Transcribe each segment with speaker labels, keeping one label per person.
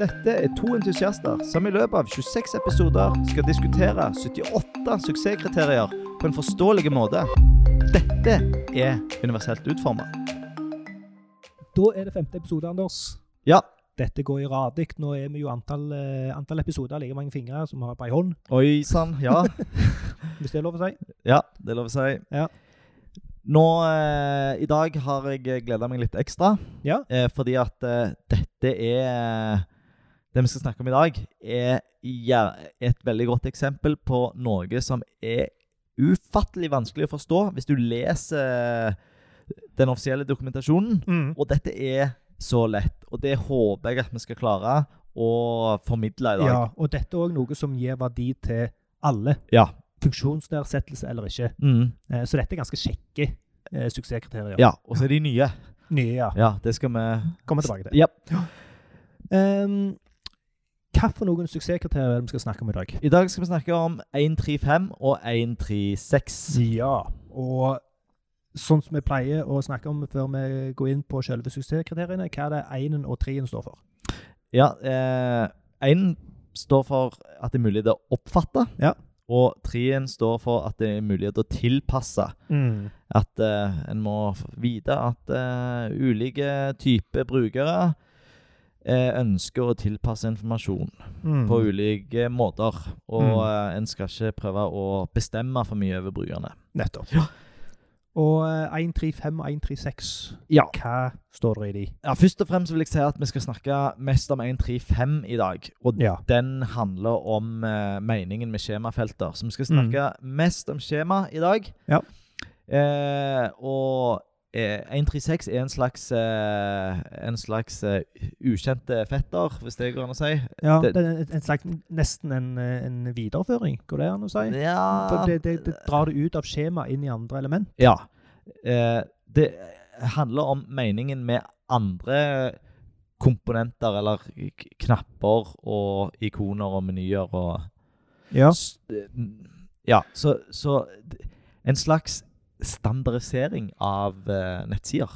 Speaker 1: Dette er to entusiaster som i løpet av 26 episoder skal diskutere 78 suksesskriterier på en forståelig måte. Dette er universelt utforma.
Speaker 2: Da er det femte episode, Anders.
Speaker 1: Ja.
Speaker 2: Dette går i radikt. Nå er vi jo antall, eh, antall episoder like mange fingre som vi har på ei hånd,
Speaker 1: Oi sann, ja.
Speaker 2: hvis det er lov å si.
Speaker 1: Ja, det er lov å si.
Speaker 2: Ja.
Speaker 1: Nå, eh, I dag har jeg gleda meg litt ekstra,
Speaker 2: Ja.
Speaker 1: eh, fordi at eh, dette er eh, Det vi skal snakke om i dag, er ja, et veldig godt eksempel på noe som er ufattelig vanskelig å forstå hvis du leser eh, den offisielle dokumentasjonen.
Speaker 2: Mm.
Speaker 1: Og dette er så lett, og det håper jeg at vi skal klare å formidle i dag.
Speaker 2: Ja, og dette er òg noe som gir verdi til alle.
Speaker 1: Ja.
Speaker 2: Funksjonsnedsettelse eller ikke.
Speaker 1: Mm.
Speaker 2: Eh, Så dette er ganske kjekke eh, suksesskriterier.
Speaker 1: ja. Og så er de nye.
Speaker 2: Nye, ja.
Speaker 1: Ja, det skal vi
Speaker 2: Kommer tilbake til.
Speaker 1: Ja.
Speaker 2: Um, hva for noen suksesskriterier er det vi skal snakke om i dag?
Speaker 1: I dag skal vi snakke om 135 og 136.
Speaker 2: Ja, og sånn som vi pleier å snakke om før vi går inn på selve suksesskriteriene, hva er det enen og treen står for?
Speaker 1: Ja, eh, 1 står for at det er mulig å oppfatte.
Speaker 2: Ja.
Speaker 1: Og 3 står for at det er mulig å tilpasse.
Speaker 2: Mm.
Speaker 1: At eh, en må f- vite at eh, ulike typer brukere eh, ønsker å tilpasse informasjon på ulike måter. Og
Speaker 2: Mm.
Speaker 1: eh, en skal ikke prøve å bestemme for mye over brukerne.
Speaker 2: Nettopp. Og eh, 135 og 136,
Speaker 1: Ja.
Speaker 2: hva står det i de?
Speaker 1: ja, Først og fremst vil jeg si at vi skal snakke mest om 135 i dag. Og
Speaker 2: Ja.
Speaker 1: den handler om eh, meningen med skjemafelter. Så vi skal snakke mest om skjema i dag.
Speaker 2: Mm. Ja.
Speaker 1: Eh, og eh, 136 er en slags, eh, en slags eh, ukjente fetter, hvis det går an å si.
Speaker 2: ja
Speaker 1: det-
Speaker 2: det, er en- en slags, nesten en, eh, en videreføring, går det an å si? For
Speaker 1: Ja,
Speaker 2: det, det, det drar det ut av skjema inn i andre element.
Speaker 1: ja. Eh, det handler om meningen med andre komponenter eller k- knapper og ikoner og menyer og
Speaker 2: Ja.
Speaker 1: S- eh, Ja, så, så d- en slags standardisering av eh, nettsider.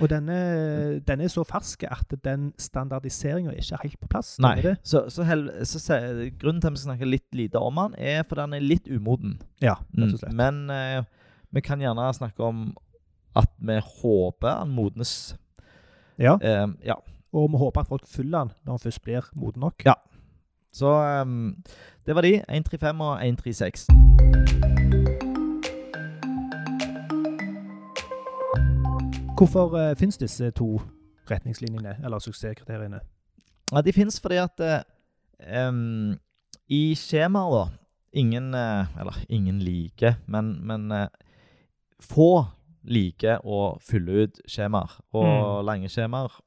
Speaker 2: Og denne, den er så fersk at den standardiseringa er ikke helt på plass. stemmer
Speaker 1: Nei.
Speaker 2: Det?
Speaker 1: Så, så, hel, så se- grunnen til at vi snakker litt lite om den, er fordi den er litt umoden.
Speaker 2: Ja, rett
Speaker 1: Mm.
Speaker 2: og slett.
Speaker 1: Men eh, vi kan gjerne snakke om at vi håper den modnes.
Speaker 2: Ja.
Speaker 1: Eh, ja.
Speaker 2: Og vi håper at folk følger den når den først blir moden nok.
Speaker 1: Ja. Så ehm, det var de. 135 og 136.
Speaker 2: Hvorfor eh, finnes disse to retningslinjene, eller suksesskriteriene?
Speaker 1: Ja, de fins fordi at eh, em, I skjemaer, da Ingen eh, Eller ingen liker, men, men eh, få liker å fylle ut skjemaer og
Speaker 2: Mm.
Speaker 1: lange skjemaer.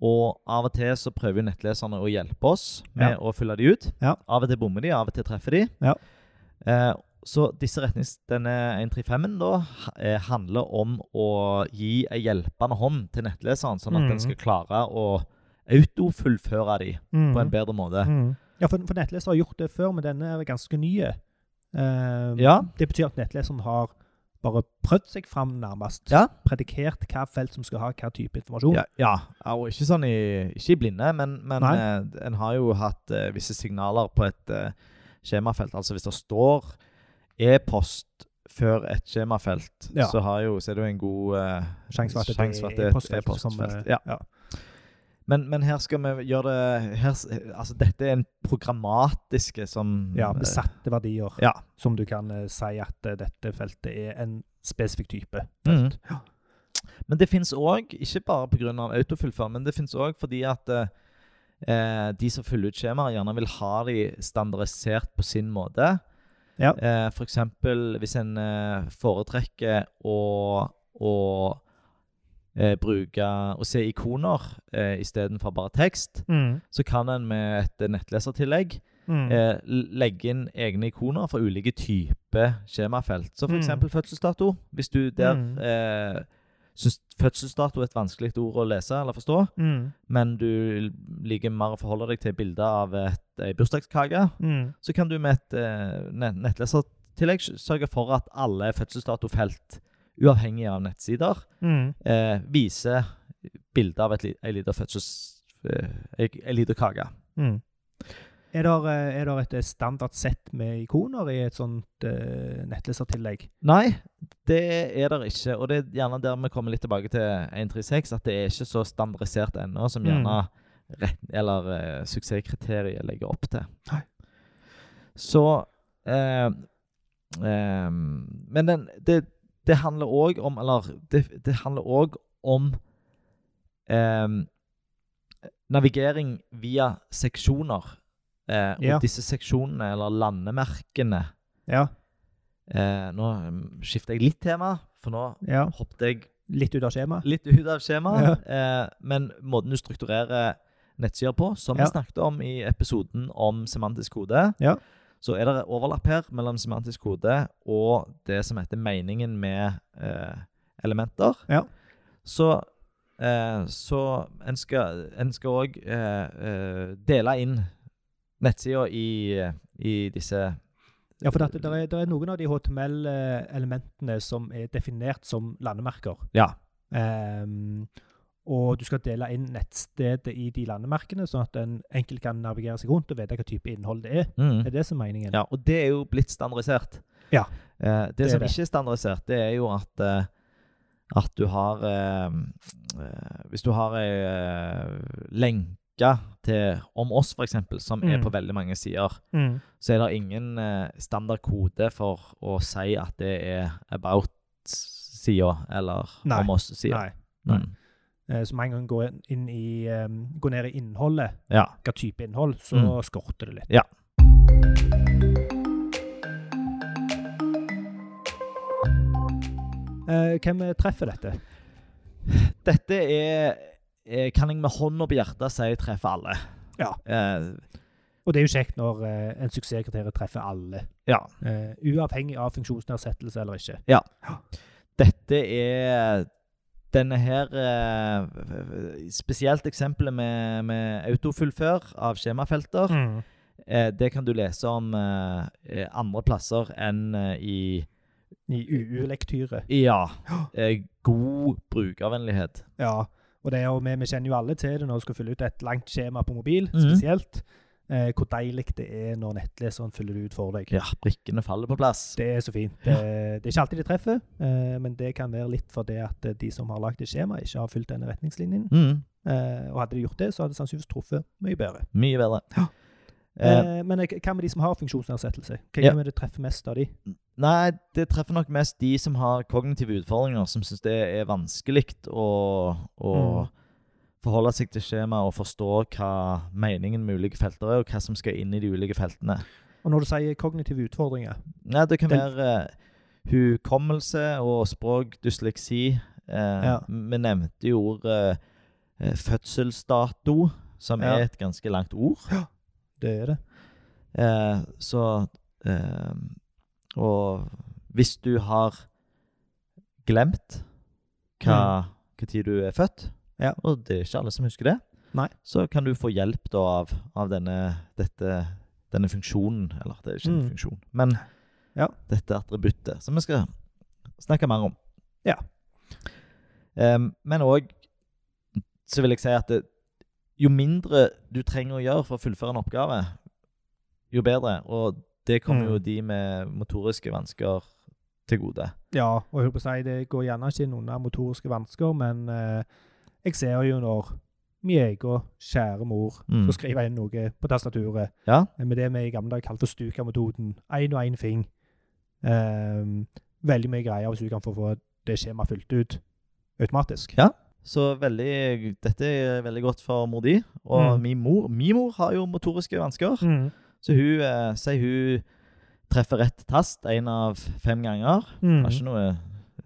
Speaker 1: Og av og til så prøver jo nettleserne å hjelpe oss med
Speaker 2: Ja.
Speaker 1: å fylle de ut.
Speaker 2: Ja.
Speaker 1: Av og til bommer de, av og til treffer de.
Speaker 2: Ja.
Speaker 1: Eh, så disse retnings, denne 135-en da ha- eh, handler om å gi ei hjelpende hånd til nettleseren, sånn at
Speaker 2: Mhm.
Speaker 1: den skal klare å autofullføre de på
Speaker 2: Mhm.
Speaker 1: en bedre måte.
Speaker 2: Mm. Ja, for, for nettlesere har gjort det før, men denne er ganske nye. Eh,
Speaker 1: Ja.
Speaker 2: Det betyr at nettleseren har bare prøvd seg fram nærmest.
Speaker 1: Ja.
Speaker 2: Predikert hva felt som skal ha hva type informasjon.
Speaker 1: Ja, ja. ja, og ikke sånn i, ikke i blinde, men, men
Speaker 2: Nei.
Speaker 1: eh, en har jo hatt eh, visse signaler på et eh, skjemafelt. Altså hvis det står e-post før et skjemafelt,
Speaker 2: Ja.
Speaker 1: så, har jo, så er det jo en god eh,
Speaker 2: Sjanse for at det
Speaker 1: sjanse for at det
Speaker 2: er
Speaker 1: er et
Speaker 2: e-postfelt som eh, kommer.
Speaker 1: e-postfelt. Ja. Men, men her skal vi gjøre det her, s- Altså dette er en programmatiske som eh,
Speaker 2: Ja, med satte verdier,
Speaker 1: Mm. Ja.
Speaker 2: som du kan eh, si at eh, dette feltet er en spesifikk type.
Speaker 1: Mhm. Men det fins òg, ikke bare pga. autofyllfør, men det fins òg fordi at eh, de som fyller ut skjemaer, gjerne vil ha de standardisert på sin måte.
Speaker 2: Ja.
Speaker 1: Eh, for eksempel hvis en eh, foretrekker å, å eh, bruke å se ikoner eh, istedenfor bare tekst,
Speaker 2: Mm.
Speaker 1: så kan en med et nettlesertillegg eh, l- legge inn egne ikoner for ulike typer skjemafelt. Så
Speaker 2: Mm.
Speaker 1: f.eks. eksempel fødselsdato. Hvis du der
Speaker 2: Mm.
Speaker 1: eh, syns fødselsdato er et vanskelig ord å lese eller forstå,
Speaker 2: Mm.
Speaker 1: men du liker mer å forholde deg til bildet av et- ei bursdagskake,
Speaker 2: Mm.
Speaker 1: så kan du med et eh, net- nettlesertillegg s- sørge for at alle fødselsdatofelt,
Speaker 2: Mm.
Speaker 1: uavhengig av nettsider, eh, viser bilde av et, li- ei lita fødsels, jeg, jeg liker kake.
Speaker 2: Mm. Er det, eh, er der et eh, standard sett med ikoner i et sånt eh, nettlesertillegg?
Speaker 1: Nei, det er det ikke. Og det er gjerne der vi kommer litt tilbake til 136, at det er ikke så standardisert ennå
Speaker 2: Mm.
Speaker 1: som gjerne rett, eller eh, suksesskriteriet legger opp til.
Speaker 2: Nei.
Speaker 1: Så eh, eh, Men den, det, det handler òg om Eller det, det handler òg om eh, navigering via seksjoner. Eh, og
Speaker 2: Ja.
Speaker 1: disse seksjonene, eller landemerkene,
Speaker 2: Ja.
Speaker 1: Eh, nå mm, skifter jeg litt tema, for nå
Speaker 2: ja.
Speaker 1: hoppet jeg
Speaker 2: Litt ut av skjemaet?
Speaker 1: litt ut av skjemaet. Eh, men måten du strukturerer nettsider på, som
Speaker 2: Ja.
Speaker 1: vi snakket om i episoden om semantisk kode,
Speaker 2: Ja.
Speaker 1: så er det overlapp her mellom semantisk kode og det som heter meningen med eh, elementer.
Speaker 2: Ja.
Speaker 1: Så eh, så en skal en skal òg eh, eh, dele inn nettsida i, i disse
Speaker 2: Ja, for det, der er, der er noen av de HTML-elementene som er definert som landemerker.
Speaker 1: Ja.
Speaker 2: Ehm, og du skal dele inn nettstedet i de landemerkene, sånn at en enkelt kan navigere seg rundt og vite hva type innhold det er.
Speaker 1: mm.
Speaker 2: Er det som er meningen?
Speaker 1: Ja, og det er jo blitt standardisert.
Speaker 2: Ja,
Speaker 1: Eh, det,
Speaker 2: det er
Speaker 1: som
Speaker 2: det.
Speaker 1: ikke er standardisert, det er jo at, eh, at du har eh, eh, Hvis du har ei eh, lenke til Om oss, f.eks., som er
Speaker 2: Mm.
Speaker 1: på veldig mange sider,
Speaker 2: Mm.
Speaker 1: så er det ingen eh, standard kode for å si at det er about-sida eller
Speaker 2: Nei.
Speaker 1: om oss-sida.
Speaker 2: Nei. nei.
Speaker 1: Mm.
Speaker 2: Eh, Så med en gang går, en inn i, ehm, går ned i innholdet,
Speaker 1: Ja.
Speaker 2: hva type innhold, så
Speaker 1: Mm.
Speaker 2: skorter det litt.
Speaker 1: Ja.
Speaker 2: Eh, Hvem treffer dette?
Speaker 1: Dette er eh, Kan jeg med hånda på hjertet si treffer alle?
Speaker 2: Ja.
Speaker 1: Eh,
Speaker 2: Og det er jo kjekt når eh, en suksesskriterium treffer alle,
Speaker 1: ja.
Speaker 2: eh, uavhengig av funksjonsnedsettelse eller ikke.
Speaker 1: Dette er denne her eh, Spesielt eksempelet med, med autofullfør av skjemafelter.
Speaker 2: Mm.
Speaker 1: Eh, det kan du lese om eh, eh, andre plasser enn eh, i
Speaker 2: I UU-lektyre.
Speaker 1: Ja. Eh, god brukervennlighet.
Speaker 2: Ja, og det er jo, vi, vi kjenner jo alle til det når du skal fylle ut et langt skjema på mobil,
Speaker 1: Mhm.
Speaker 2: spesielt. Eh, hvor deilig det er når nettleseren fyller det ut for deg.
Speaker 1: Ja, brikkene faller på plass.
Speaker 2: Det er så fint. Det, det er ikke alltid de treffer, eh, men det kan være litt fordi at eh, de som har lagd et skjema, ikke har fulgt denne retningslinjen.
Speaker 1: Mm,
Speaker 2: Eh, og hadde de gjort det, så hadde de sannsynligvis truffet mye bedre.
Speaker 1: mye bedre.
Speaker 2: Ja.
Speaker 1: Eh,
Speaker 2: Eh, men eh, hva med de som har funksjonsnedsettelse? Hva
Speaker 1: Ja.
Speaker 2: er det treffer mest av de?
Speaker 1: Nei, det treffer nok mest de som har kognitive utfordringer, som syns det er vanskelig å, å
Speaker 2: Mm.
Speaker 1: forholde seg til skjema og forstå hva meningen med ulike felter er, og hva som skal inn i de ulike feltene.
Speaker 2: Og når du sier kognitive utfordringer
Speaker 1: Nei, det kan
Speaker 2: Den-
Speaker 1: være eh, hukommelse og språk, dysleksi. Eh,
Speaker 2: Ja.
Speaker 1: Vi nevnte jo ordet eh, fødselsdato, som
Speaker 2: Ja.
Speaker 1: er et ganske langt ord.
Speaker 2: Det er det.
Speaker 1: Eh, så eh, Og hvis du har glemt hva, hva tid du er født,
Speaker 2: Ja.
Speaker 1: og det er ikke alle som husker det,
Speaker 2: Nei.
Speaker 1: så kan du få hjelp da av, av denne, dette, denne funksjonen. Eller det er ikke en
Speaker 2: Mm.
Speaker 1: funksjon, men
Speaker 2: Ja.
Speaker 1: dette attributtet, som vi skal snakke mer om.
Speaker 2: Ja.
Speaker 1: Em, men òg så vil jeg si at det, jo mindre du trenger å gjøre for å fullføre en oppgave, jo bedre. Og det kommer
Speaker 2: Mm.
Speaker 1: jo de med motoriske vansker til gode.
Speaker 2: Ja, og jeg holdt på å si, det går gjerne ikke inn under motoriske vansker, men eh, jeg ser jo når min egen kjære mor
Speaker 1: Mm.
Speaker 2: skal skrive inn noe på tastaturet
Speaker 1: Ja.
Speaker 2: eh, med det vi i gamle dager kalte for stukametoden. Én og én fing. Ehm, veldig mye greier hvis du kan få, få det skjemaet fylt ut automatisk.
Speaker 1: Ja. Så veldig, dette er veldig godt for mor di. Og
Speaker 2: Mm.
Speaker 1: min mor min mor har jo motoriske vansker.
Speaker 2: Mm.
Speaker 1: Så hun eh, sier hun treffer rett tast én av fem ganger. Jeg har ikke noe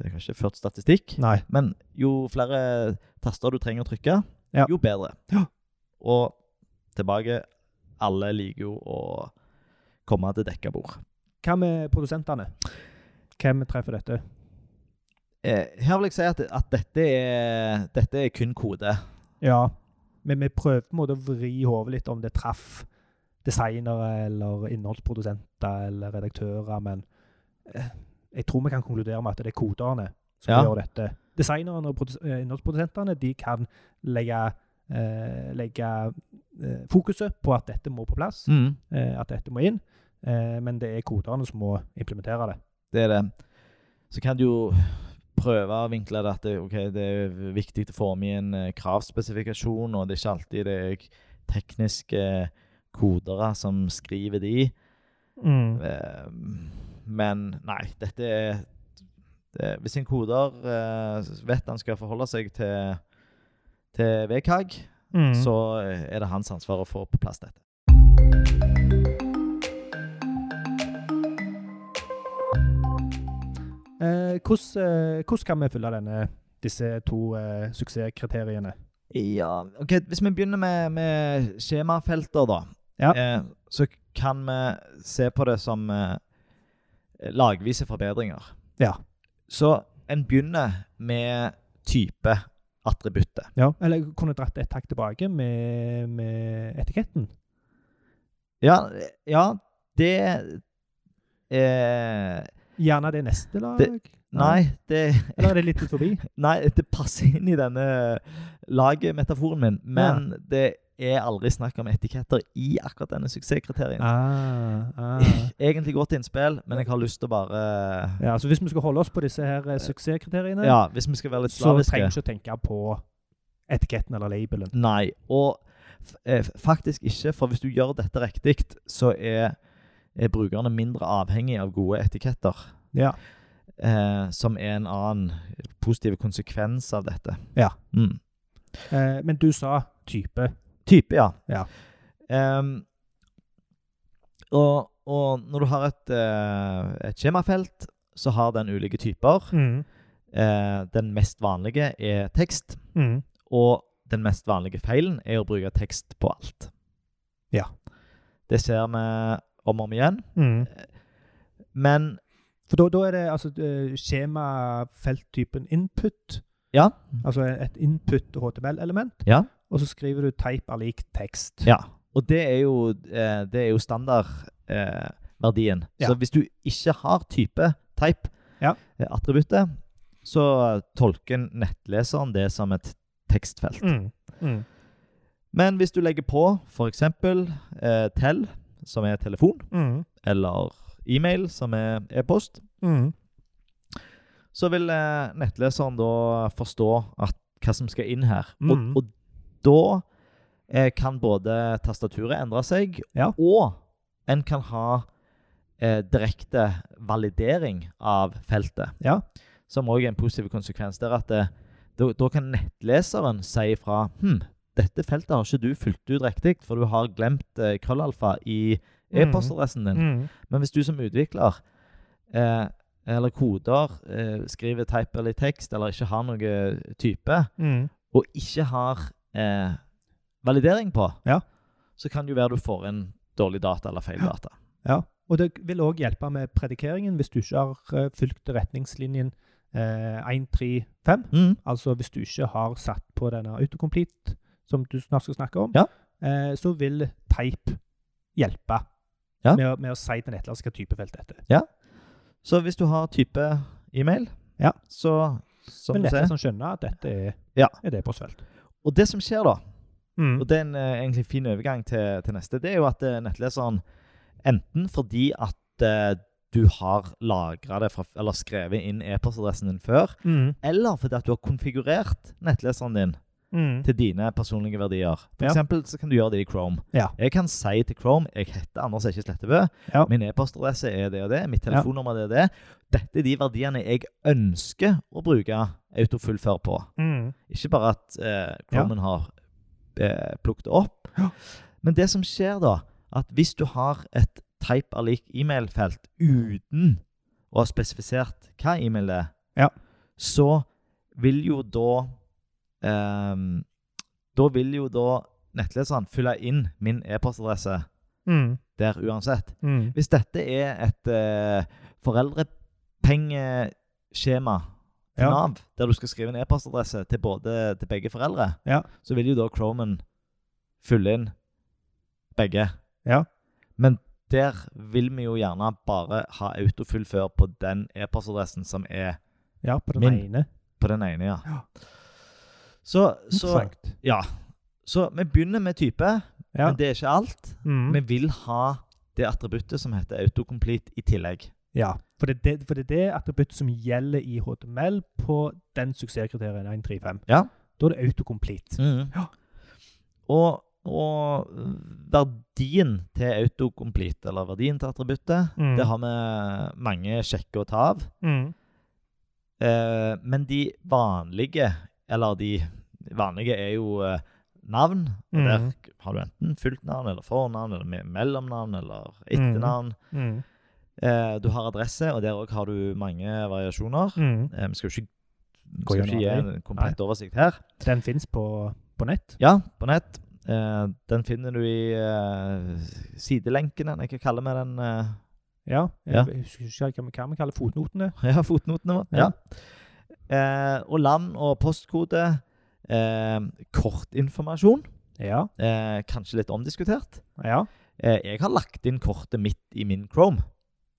Speaker 1: Jeg har ikke ført statistikk.
Speaker 2: Mm. Nei.
Speaker 1: Men jo flere taster du trenger å trykke,
Speaker 2: Ja.
Speaker 1: jo bedre.
Speaker 2: Ja.
Speaker 1: Og tilbake Alle liker jo å komme til dekka bord.
Speaker 2: Hva med produsentene? Hvem treffer dette?
Speaker 1: Eh, her vil jeg si at, at dette, er, dette er kun kode.
Speaker 2: Ja, men vi prøver på en måte å vri hodet litt om det traff designere eller innholdsprodusenter eller redaktører, men eh, jeg tror vi kan konkludere med at det er koderne som
Speaker 1: Ja.
Speaker 2: gjør dette. Designerne og produs- eh, innholdsprodusentene de kan legge eh, legge eh, fokuset på at dette må på plass,
Speaker 1: Mm,
Speaker 2: eh, at dette må inn. Eh, men det er koderne som må implementere det.
Speaker 1: det er det. Så kan du jo prøve å vinkle det at det, ok, det er viktig å få med i en eh, kravspesifikasjon, og det er ikke alltid det er tekniske kodere som skriver de. Eh, Men nei, dette er det, Hvis en koder eh, vet han skal forholde seg til, til VKG,
Speaker 2: Mm.
Speaker 1: så er det hans ansvar å få på plass dette.
Speaker 2: Eh, hvordan, eh, hvordan kan vi følge denne, disse to eh, suksesskriteriene?
Speaker 1: Ja, ok, Hvis vi begynner med, med skjemafelter, da,
Speaker 2: Ja.
Speaker 1: eh, så kan vi se på det som eh, lagvise forbedringer.
Speaker 2: Ja.
Speaker 1: Så en begynner med type attributtet.
Speaker 2: Ja. Eller jeg kunne dratt et takk tilbake med, med etiketten.
Speaker 1: Ja, ja det eh,
Speaker 2: Gjerne det neste lag?
Speaker 1: Nei, det,
Speaker 2: Eller er det litt ut forbi?
Speaker 1: nei, det passer inn i denne lagmetaforen min, men det er aldri snakk om etiketter i akkurat denne suksesskriterien.
Speaker 2: Ah, ah.
Speaker 1: Egentlig godt innspill, men jeg har lyst til å bare
Speaker 2: Ja, så Hvis vi skal holde oss på disse her eh, suksesskriteriene,
Speaker 1: Ja, hvis vi skal være litt
Speaker 2: så
Speaker 1: slaviske.
Speaker 2: trenger vi ikke å tenke på etiketten eller labelen.
Speaker 1: Nei, og f- eh, faktisk ikke, for hvis du gjør dette riktig, så er, er brukerne mindre avhengig av gode etiketter,
Speaker 2: Ja.
Speaker 1: eh, som er en annen positiv konsekvens av dette.
Speaker 2: Ja.
Speaker 1: Mm.
Speaker 2: Eh, men du sa type.
Speaker 1: Type, ja.
Speaker 2: Ja.
Speaker 1: Ehm, og, og når du har et, eh, et skjemafelt, så har den ulike typer. Eh, den mest vanlige er tekst,
Speaker 2: Mm.
Speaker 1: og den mest vanlige feilen er å bruke tekst på alt.
Speaker 2: Ja.
Speaker 1: Det ser vi om og om igjen.
Speaker 2: Mm.
Speaker 1: Men
Speaker 2: For da, da er det altså eh, skjemafelttypen input.
Speaker 1: ja,
Speaker 2: Altså et input HTML-element.
Speaker 1: Ja.
Speaker 2: Og så skriver du type er lik tekst.
Speaker 1: ja. Og det er jo, eh, det er jo standardverdien. Eh, verdien.
Speaker 2: Ja.
Speaker 1: Så hvis du ikke har type, type,
Speaker 2: Ja.
Speaker 1: eh, attributtet, så tolker nettleseren det som et tekstfelt.
Speaker 2: Mm. Mm.
Speaker 1: Men hvis du legger på f.eks. Eh, tell, som er telefon,
Speaker 2: Mm.
Speaker 1: eller e-mail, som er e-post,
Speaker 2: Mm.
Speaker 1: så vil eh, nettleseren da forstå at, hva som skal inn her.
Speaker 2: Mm.
Speaker 1: Og, og da eh, kan både tastaturet endre seg,
Speaker 2: Ja.
Speaker 1: og en kan ha eh, direkte validering av feltet.
Speaker 2: Ja.
Speaker 1: Som òg er en positiv konsekvens. der at eh, da, da kan nettleseren si ifra hm, dette feltet har ikke du fulgt ut riktig, for du har glemt eh, krøllalfa i
Speaker 2: Mm.
Speaker 1: e-postadressen din.
Speaker 2: Mm.
Speaker 1: Men hvis du som utvikler eh, eller koder eh, skriver type eller tekst eller ikke har noe type,
Speaker 2: Mm.
Speaker 1: og ikke har eh, validering på,
Speaker 2: Ja.
Speaker 1: så kan det jo være du får inn dårlig data eller feil data.
Speaker 2: Ja, og det vil òg hjelpe med predikeringen hvis du ikke har eh, fulgt retningslinjen eh, 135.
Speaker 1: Mm.
Speaker 2: Altså hvis du ikke har satt på denne autocomplete som du snart skal snakke om,
Speaker 1: Ja.
Speaker 2: eh, så vil type hjelpe
Speaker 1: Ja.
Speaker 2: med, å- med å si til nettleseren hvilket typefelt dette er.
Speaker 1: Så hvis du har type e-mail,
Speaker 2: Ja.
Speaker 1: så Sånn som
Speaker 2: Men
Speaker 1: du ser.
Speaker 2: nettleseren skjønner at dette er,
Speaker 1: Ja.
Speaker 2: er det postfelt.
Speaker 1: Og det som skjer da,
Speaker 2: Mm.
Speaker 1: og det er en eh, egentlig fin overgang til, til neste, det er jo at eh, nettleseren enten fordi at eh, du har lagra det fra, eller skrevet inn e-postadressen din før,
Speaker 2: Mm.
Speaker 1: eller fordi at du har konfigurert nettleseren din
Speaker 2: Mm.
Speaker 1: til dine personlige verdier. For
Speaker 2: Ja.
Speaker 1: eksempel så kan du gjøre det i Chrome.
Speaker 2: Ja.
Speaker 1: Jeg kan si til Chrome jeg heter Anders Ekke Slettebø,
Speaker 2: Ja.
Speaker 1: min e-postadresse er det og det, mitt telefonnummer er det og det. Dette er de verdiene jeg ønsker å bruke autofullfør på.
Speaker 2: Mm.
Speaker 1: Ikke bare at eh, Chromen har eh, plukket det opp.
Speaker 2: Ja.
Speaker 1: Men det som skjer da, at hvis du har et type er lik e-mailfelt uten å ha spesifisert hva e-mail det er,
Speaker 2: Ja.
Speaker 1: så vil jo da ehm, Da vil jo da nettleseren fylle inn min e-postadresse
Speaker 2: Mm.
Speaker 1: der uansett.
Speaker 2: Mm.
Speaker 1: Hvis dette er et eh, foreldrepengeskjema til
Speaker 2: Ja.
Speaker 1: Nav, der du skal skrive en e-postadresse til, både- til begge foreldre,
Speaker 2: Ja.
Speaker 1: så vil jo da Chromen fylle inn begge.
Speaker 2: Ja.
Speaker 1: Men der vil vi jo gjerne bare ha autofullfør på den e-postadressen som er
Speaker 2: Ja, på den
Speaker 1: Min.
Speaker 2: ene.
Speaker 1: på den ene, ja.
Speaker 2: Ja.
Speaker 1: Så, så
Speaker 2: Interessant.
Speaker 1: Ja. Så vi begynner med type,
Speaker 2: Ja.
Speaker 1: men det er ikke alt.
Speaker 2: Mm.
Speaker 1: Vi vil ha det attributtet som heter autocomplete i tillegg.
Speaker 2: ja. For det er det, for det, er det attributt som gjelder i HTML på den suksesskriterien 135.
Speaker 1: Ja.
Speaker 2: Da er det autocomplete. Ja.
Speaker 1: Og, og verdien til autocomplete, eller verdien til attributtet,
Speaker 2: Mm.
Speaker 1: det har vi mange sjekker å ta av.
Speaker 2: Mm.
Speaker 1: Eh, men de vanlige, eller de vanlige er jo eh, navn. Og
Speaker 2: Mm.
Speaker 1: der har du enten fullt navn, eller fornavn, eller me- mellomnavn, eller etternavn.
Speaker 2: Mm.
Speaker 1: Eh, du har adresse, og der òg har du mange variasjoner.
Speaker 2: Mm.
Speaker 1: Eh, Vi skal jo ikke, vi
Speaker 2: Gå
Speaker 1: skal jo ikke
Speaker 2: gjennom
Speaker 1: gi
Speaker 2: alle.
Speaker 1: en komplett oversikt her.
Speaker 2: Den fins på, på nett.
Speaker 1: Ja, på nett. Eh, den finner du i eh, sidelenkene. Nei, hva kaller vi den? eh,
Speaker 2: Ja. Jeg
Speaker 1: Ja.
Speaker 2: husker ikke hva vi- hva vi kaller fotnotene.
Speaker 1: ja, fotnotene våre.
Speaker 2: Ja.
Speaker 1: Ja. Eh, og land og postkode. Eh, kortinformasjon.
Speaker 2: Ja.
Speaker 1: Eh, kanskje litt omdiskutert.
Speaker 2: ja.
Speaker 1: Eh, jeg har lagt inn kortet mitt i min Chrome,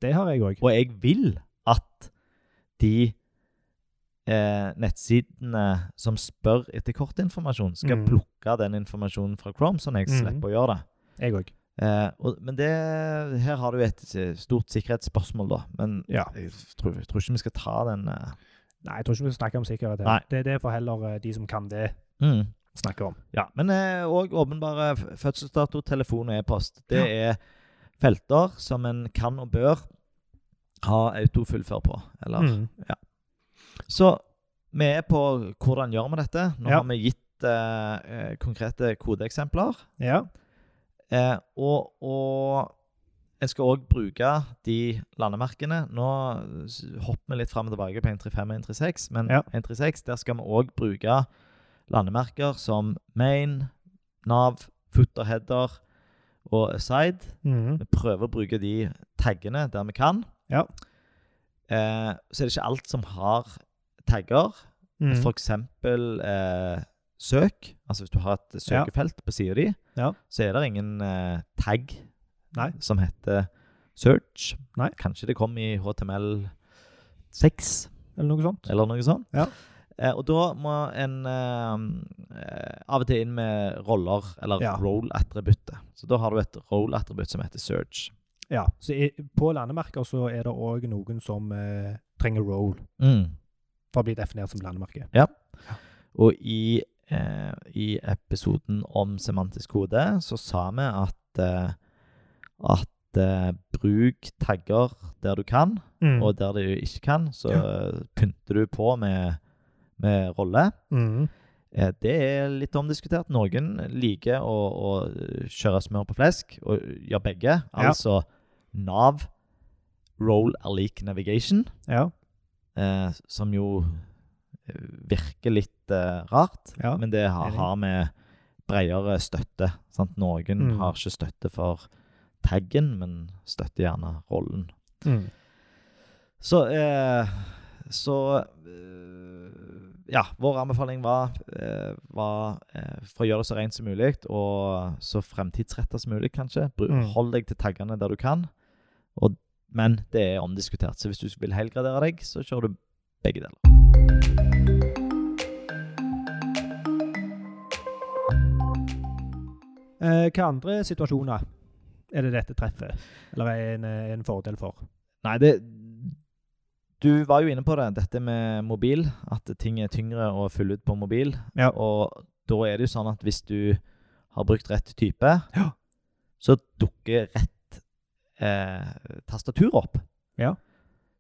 Speaker 2: Det har jeg òg.
Speaker 1: og jeg vil at de eh, nettsidene som spør etter kortinformasjon, skal
Speaker 2: Mhm.
Speaker 1: plukke den informasjonen fra Chrome, sånn at jeg
Speaker 2: Mhm.
Speaker 1: slipper å gjøre det.
Speaker 2: Jeg òg.
Speaker 1: Eh, og, men det, her har du et eh, stort sikkerhetsspørsmål, da. Men
Speaker 2: Ja.
Speaker 1: jeg tror, jeg tror ikke vi skal ta den eh.
Speaker 2: Nei, jeg tror ikke vi skal snakke om sikkerhet her.
Speaker 1: Nei.
Speaker 2: Det, det får heller eh, de som kan det, snakke om.
Speaker 1: Ja, Men òg åpenbare f- fødselsdato, telefon og e-post. Det er felter som en kan og bør ha autofullfør på. Eller.
Speaker 2: Mm.
Speaker 1: Så vi er på hvordan gjør vi dette. Nå
Speaker 2: Ja.
Speaker 1: har vi gitt eh, eh, konkrete kodeeksempler.
Speaker 2: Ja.
Speaker 1: Eh, og, og jeg skal òg bruke de landemerkene. Nå s- hopper vi litt fram og tilbake på 135 og 136, men
Speaker 2: Ja.
Speaker 1: 136 der skal vi òg bruke landemerker som main, nav, footer, header og aside.
Speaker 2: Mm.
Speaker 1: Vi prøver å bruke de taggene der vi kan.
Speaker 2: Ja.
Speaker 1: Eh, så er det ikke alt som har tagger.
Speaker 2: Mm.
Speaker 1: For eksempel eh, søk. Altså hvis du har et søkefelt på sida di,
Speaker 2: Ja.
Speaker 1: så er det ingen eh, tag
Speaker 2: Nei.
Speaker 1: som heter search.
Speaker 2: Nei.
Speaker 1: Kanskje det kom i HTML6
Speaker 2: Eller noe sånt.
Speaker 1: eller noe sånt.
Speaker 2: Ja.
Speaker 1: Eh, og da må en eh, eh, av og til inn med roller, eller
Speaker 2: Ja.
Speaker 1: role-attributtet. Så da har du et role-attribut som heter search.
Speaker 2: Ja. Så i, på landemerker så er det òg noen som eh, trenger roll for å bli definert som landemerke.
Speaker 1: Og i, eh, i episoden om semantisk kode så sa vi at, eh, at eh, bruk tagger der du kan,
Speaker 2: Mm.
Speaker 1: og der du ikke kan, så eh, pynter du på med, med rolle.
Speaker 2: Mm.
Speaker 1: Eh, det er litt omdiskutert. Noen liker å, å kjøre smør på flesk, og gjør begge. Altså Nav, role er lik navigation,
Speaker 2: Ja.
Speaker 1: eh, som jo eh, virker litt eh, rart.
Speaker 2: ja.
Speaker 1: Men det har,
Speaker 2: Enig.
Speaker 1: har med bredere støtte. Sant? Noen
Speaker 2: Mm.
Speaker 1: har ikke støtte for taggen, men støtter gjerne rollen.
Speaker 2: Mm.
Speaker 1: Så, eh, så eh, Ja, vår anbefaling var, eh, var eh, for å gjøre det så rent som mulig, og så fremtidsretta som mulig, kanskje. Bru-
Speaker 2: Mm.
Speaker 1: Hold deg til taggene der du kan. Og, men det er omdiskutert, så hvis du vil helgradere deg, så kjører du begge deler.
Speaker 2: Eh, hva andre situasjoner er det dette treffer, eller er en, eh, en fordel for?
Speaker 1: Nei, det Du var jo inne på det, dette med mobil. At ting er tyngre å fylle ut på mobil.
Speaker 2: Ja.
Speaker 1: Og da er det jo sånn at hvis du har brukt rett type,
Speaker 2: Ja.
Speaker 1: så dukker rett eh, tastatur opp.
Speaker 2: Ja.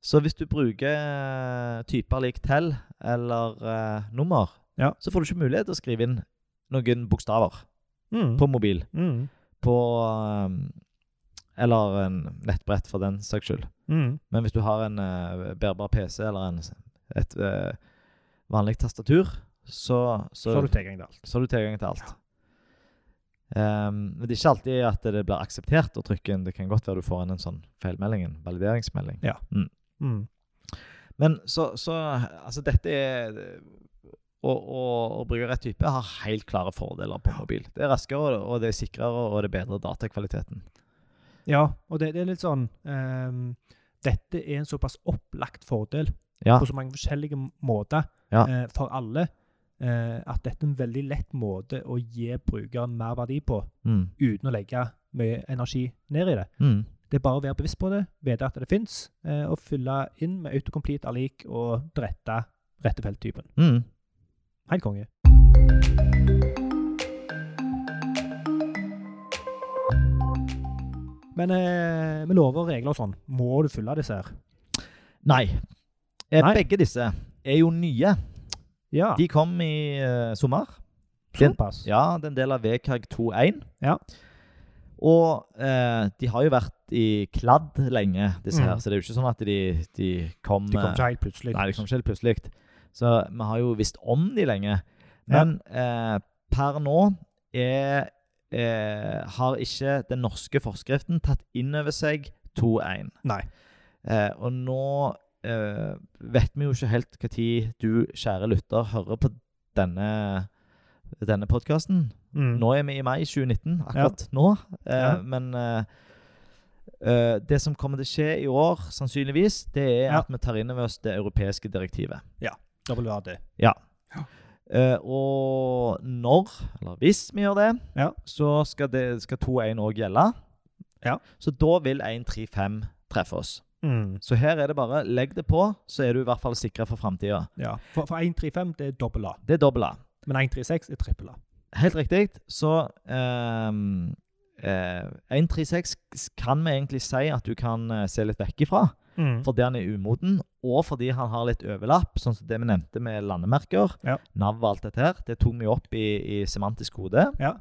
Speaker 1: Så hvis du bruker eh, typer lik tell eller eh, nummer,
Speaker 2: Ja.
Speaker 1: så får du ikke mulighet til å skrive inn noen bokstaver
Speaker 2: Mm.
Speaker 1: på mobil.
Speaker 2: Mm.
Speaker 1: På eh, Eller en nettbrett, for den saks skyld.
Speaker 2: Mm.
Speaker 1: Men hvis du har en eh, bærbar PC eller en, et eh, vanlig tastatur, så,
Speaker 2: Så
Speaker 1: så,
Speaker 2: har du tilgang til alt.
Speaker 1: så har du tilgang til alt. Ehm, men det er ikke alltid at det blir akseptert å trykke inn. Det kan godt være du får inn en sånn feilmelding, en valideringsmelding.
Speaker 2: Mm.
Speaker 1: Men så, så Altså, dette er å, å, å bruke rett type har helt klare fordeler på mobil. Det er raskere, og det er sikrere, og det bedrer datakvaliteten.
Speaker 2: Ja, og det, det er litt sånn ehm, Dette er en såpass opplagt fordel
Speaker 1: Ja.
Speaker 2: på så mange forskjellige måter
Speaker 1: Ja.
Speaker 2: eh, for alle. eh, at dette er en veldig lett måte å gi brukeren mer verdi på,
Speaker 1: Mm.
Speaker 2: uten å legge mye energi ned i det.
Speaker 1: Mm.
Speaker 2: Det er bare å være bevisst på det, vite at det fins, eh, og fylle inn med autocomplete allik og rette rette felttypen.
Speaker 1: Mm.
Speaker 2: Helt konge. Men eh, med lover og regler og sånn, må du følge disse her?
Speaker 1: Nei. Eh,
Speaker 2: Nei.
Speaker 1: Begge disse er jo nye.
Speaker 2: Ja,
Speaker 1: De kom i eh, sommer. den-
Speaker 2: såpass.
Speaker 1: Ja, det er en del av VKG 2.1.
Speaker 2: Ja.
Speaker 1: Og eh, de har jo vært i kladd lenge, disse her.
Speaker 2: Mm.
Speaker 1: Så det er jo ikke sånn at de, de kom
Speaker 2: Det kom
Speaker 1: eh,
Speaker 2: ikke helt plutselig.
Speaker 1: Nei, det kom ikke helt plutselig. Så vi har jo visst om de lenge. Men eh, per nå er, eh, har ikke den norske forskriften tatt inn over seg 2.1.
Speaker 2: Nei.
Speaker 1: Eh, og nå eh, vet vi jo ikke helt hva tid du, kjære lytter, hører på denne, denne podkasten.
Speaker 2: Mm.
Speaker 1: Nå er vi i mai 2019, akkurat nå. Eh,
Speaker 2: Ja.
Speaker 1: Men eh, eh, det som kommer til å skje i år, sannsynligvis, det er
Speaker 2: Ja.
Speaker 1: at vi tar inn over oss det europeiske direktivet.
Speaker 2: WAD.
Speaker 1: Eh, og når, eller hvis vi gjør det,
Speaker 2: Ja.
Speaker 1: så skal, det- skal 2.1 òg gjelde.
Speaker 2: Ja.
Speaker 1: Så da vil 1.3.5 treffe oss.
Speaker 2: Mm.
Speaker 1: Så her er det bare legg det på, så er du i hvert fall sikra for framtida.
Speaker 2: Ja. For, for 135 det er dobbel A,
Speaker 1: Det er dobbel A.
Speaker 2: men 136 er trippel A.
Speaker 1: Helt riktig. Så ehm, eh, 136 kan vi egentlig si at du kan eh, se litt vekk ifra,
Speaker 2: Mm.
Speaker 1: fordi han er umoden, og fordi han har litt overlapp, sånn som det vi nevnte med landemerker,
Speaker 2: Ja.
Speaker 1: nav og alt dette her. Det tok vi opp i, i semantisk kode.
Speaker 2: Ja.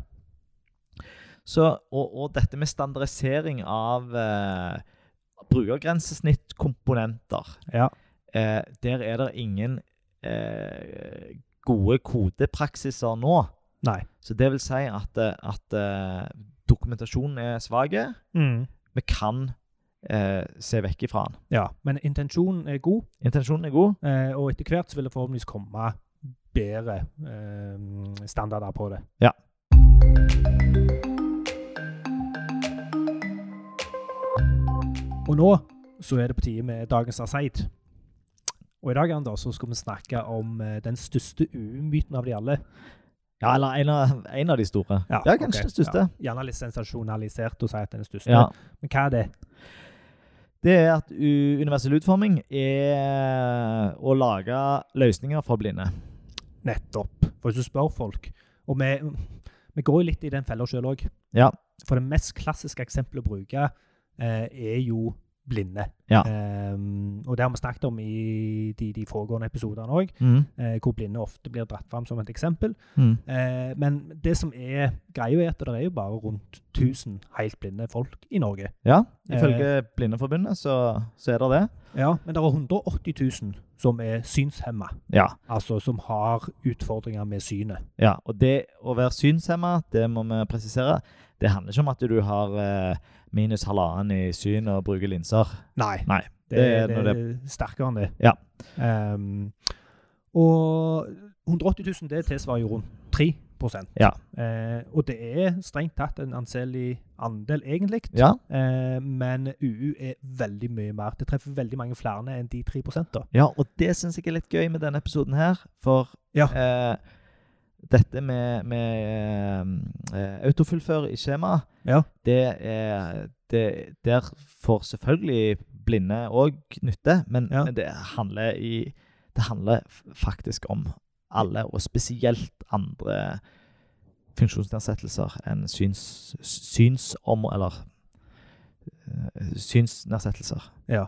Speaker 1: Så, og, og dette med standardisering av eh, brukergrensesnittkomponenter.
Speaker 2: Ja.
Speaker 1: Eh, der er det ingen eh, gode kodepraksiser nå.
Speaker 2: Nei.
Speaker 1: Så det vil si at, eh, at eh, dokumentasjonen er svak.
Speaker 2: Mm.
Speaker 1: Vi kan eh, se vekk ifra den.
Speaker 2: Ja. Men intensjonen er god,
Speaker 1: Intensjonen er god.
Speaker 2: eh, og etter hvert så vil det forhåpentligvis komme bedre eh, standarder på det. Og nå så er det på tide med dagens Aseid. Og i dag Anders, så skal vi snakke om eh, den største EU-myten av de alle.
Speaker 1: Ja, eller en av, en av de store. Ja, kanskje
Speaker 2: ok.
Speaker 1: den største.
Speaker 2: Ja, gjerne litt sensasjonalisert å si at den er største.
Speaker 1: Ja.
Speaker 2: Men hva er det?
Speaker 1: Det er at u- universell utforming er å lage løsninger for blinde.
Speaker 2: Nettopp. For hvis du spør folk Og vi, vi går jo litt i den fella sjøl òg.
Speaker 1: Ja.
Speaker 2: For det mest klassiske eksempelet å bruke eh, er jo blinde.
Speaker 1: Ja.
Speaker 2: Ehm, og det har vi snakket om i de, de foregående episodene òg,
Speaker 1: Mm.
Speaker 2: eh, hvor blinde ofte blir dratt fram som et eksempel.
Speaker 1: Mm.
Speaker 2: Eh, men det som er greia, er at det er jo bare rundt 1000 helt blinde folk i Norge.
Speaker 1: Ja, ifølge Blindeforbundet så, så er det det.
Speaker 2: Ja, Men det er 180 000 som er synshemma,
Speaker 1: Ja.
Speaker 2: altså som har utfordringer med synet.
Speaker 1: ja. Og det å være synshemma, det må vi presisere, det handler ikke om at du har eh, minus halvannen i syn og bruker linser.
Speaker 2: Nei.
Speaker 1: Nei,
Speaker 2: Det,
Speaker 1: det er
Speaker 2: er, det,
Speaker 1: når
Speaker 2: er sterkere enn det.
Speaker 1: Ja.
Speaker 2: Ehm, og 180 000, det tilsvarer jo rundt 3
Speaker 1: Ja.
Speaker 2: Eh, Og det er strengt tatt en anselig andel, egentlig.
Speaker 1: Ja.
Speaker 2: Eh, men UU er veldig mye mer. Det treffer veldig mange flere enn de 3 da.
Speaker 1: Ja, og det syns jeg er litt gøy med denne episoden her. For
Speaker 2: Ja.
Speaker 1: eh, dette med, med eh, autofullfør i skjema,
Speaker 2: Ja.
Speaker 1: det er det, Der får selvfølgelig blinde òg nytte, men,
Speaker 2: Ja.
Speaker 1: men det handler i Det handler f- faktisk om alle, og spesielt andre funksjonsnedsettelser enn syns, synsom... Eller eh, synsnedsettelser.
Speaker 2: Ja,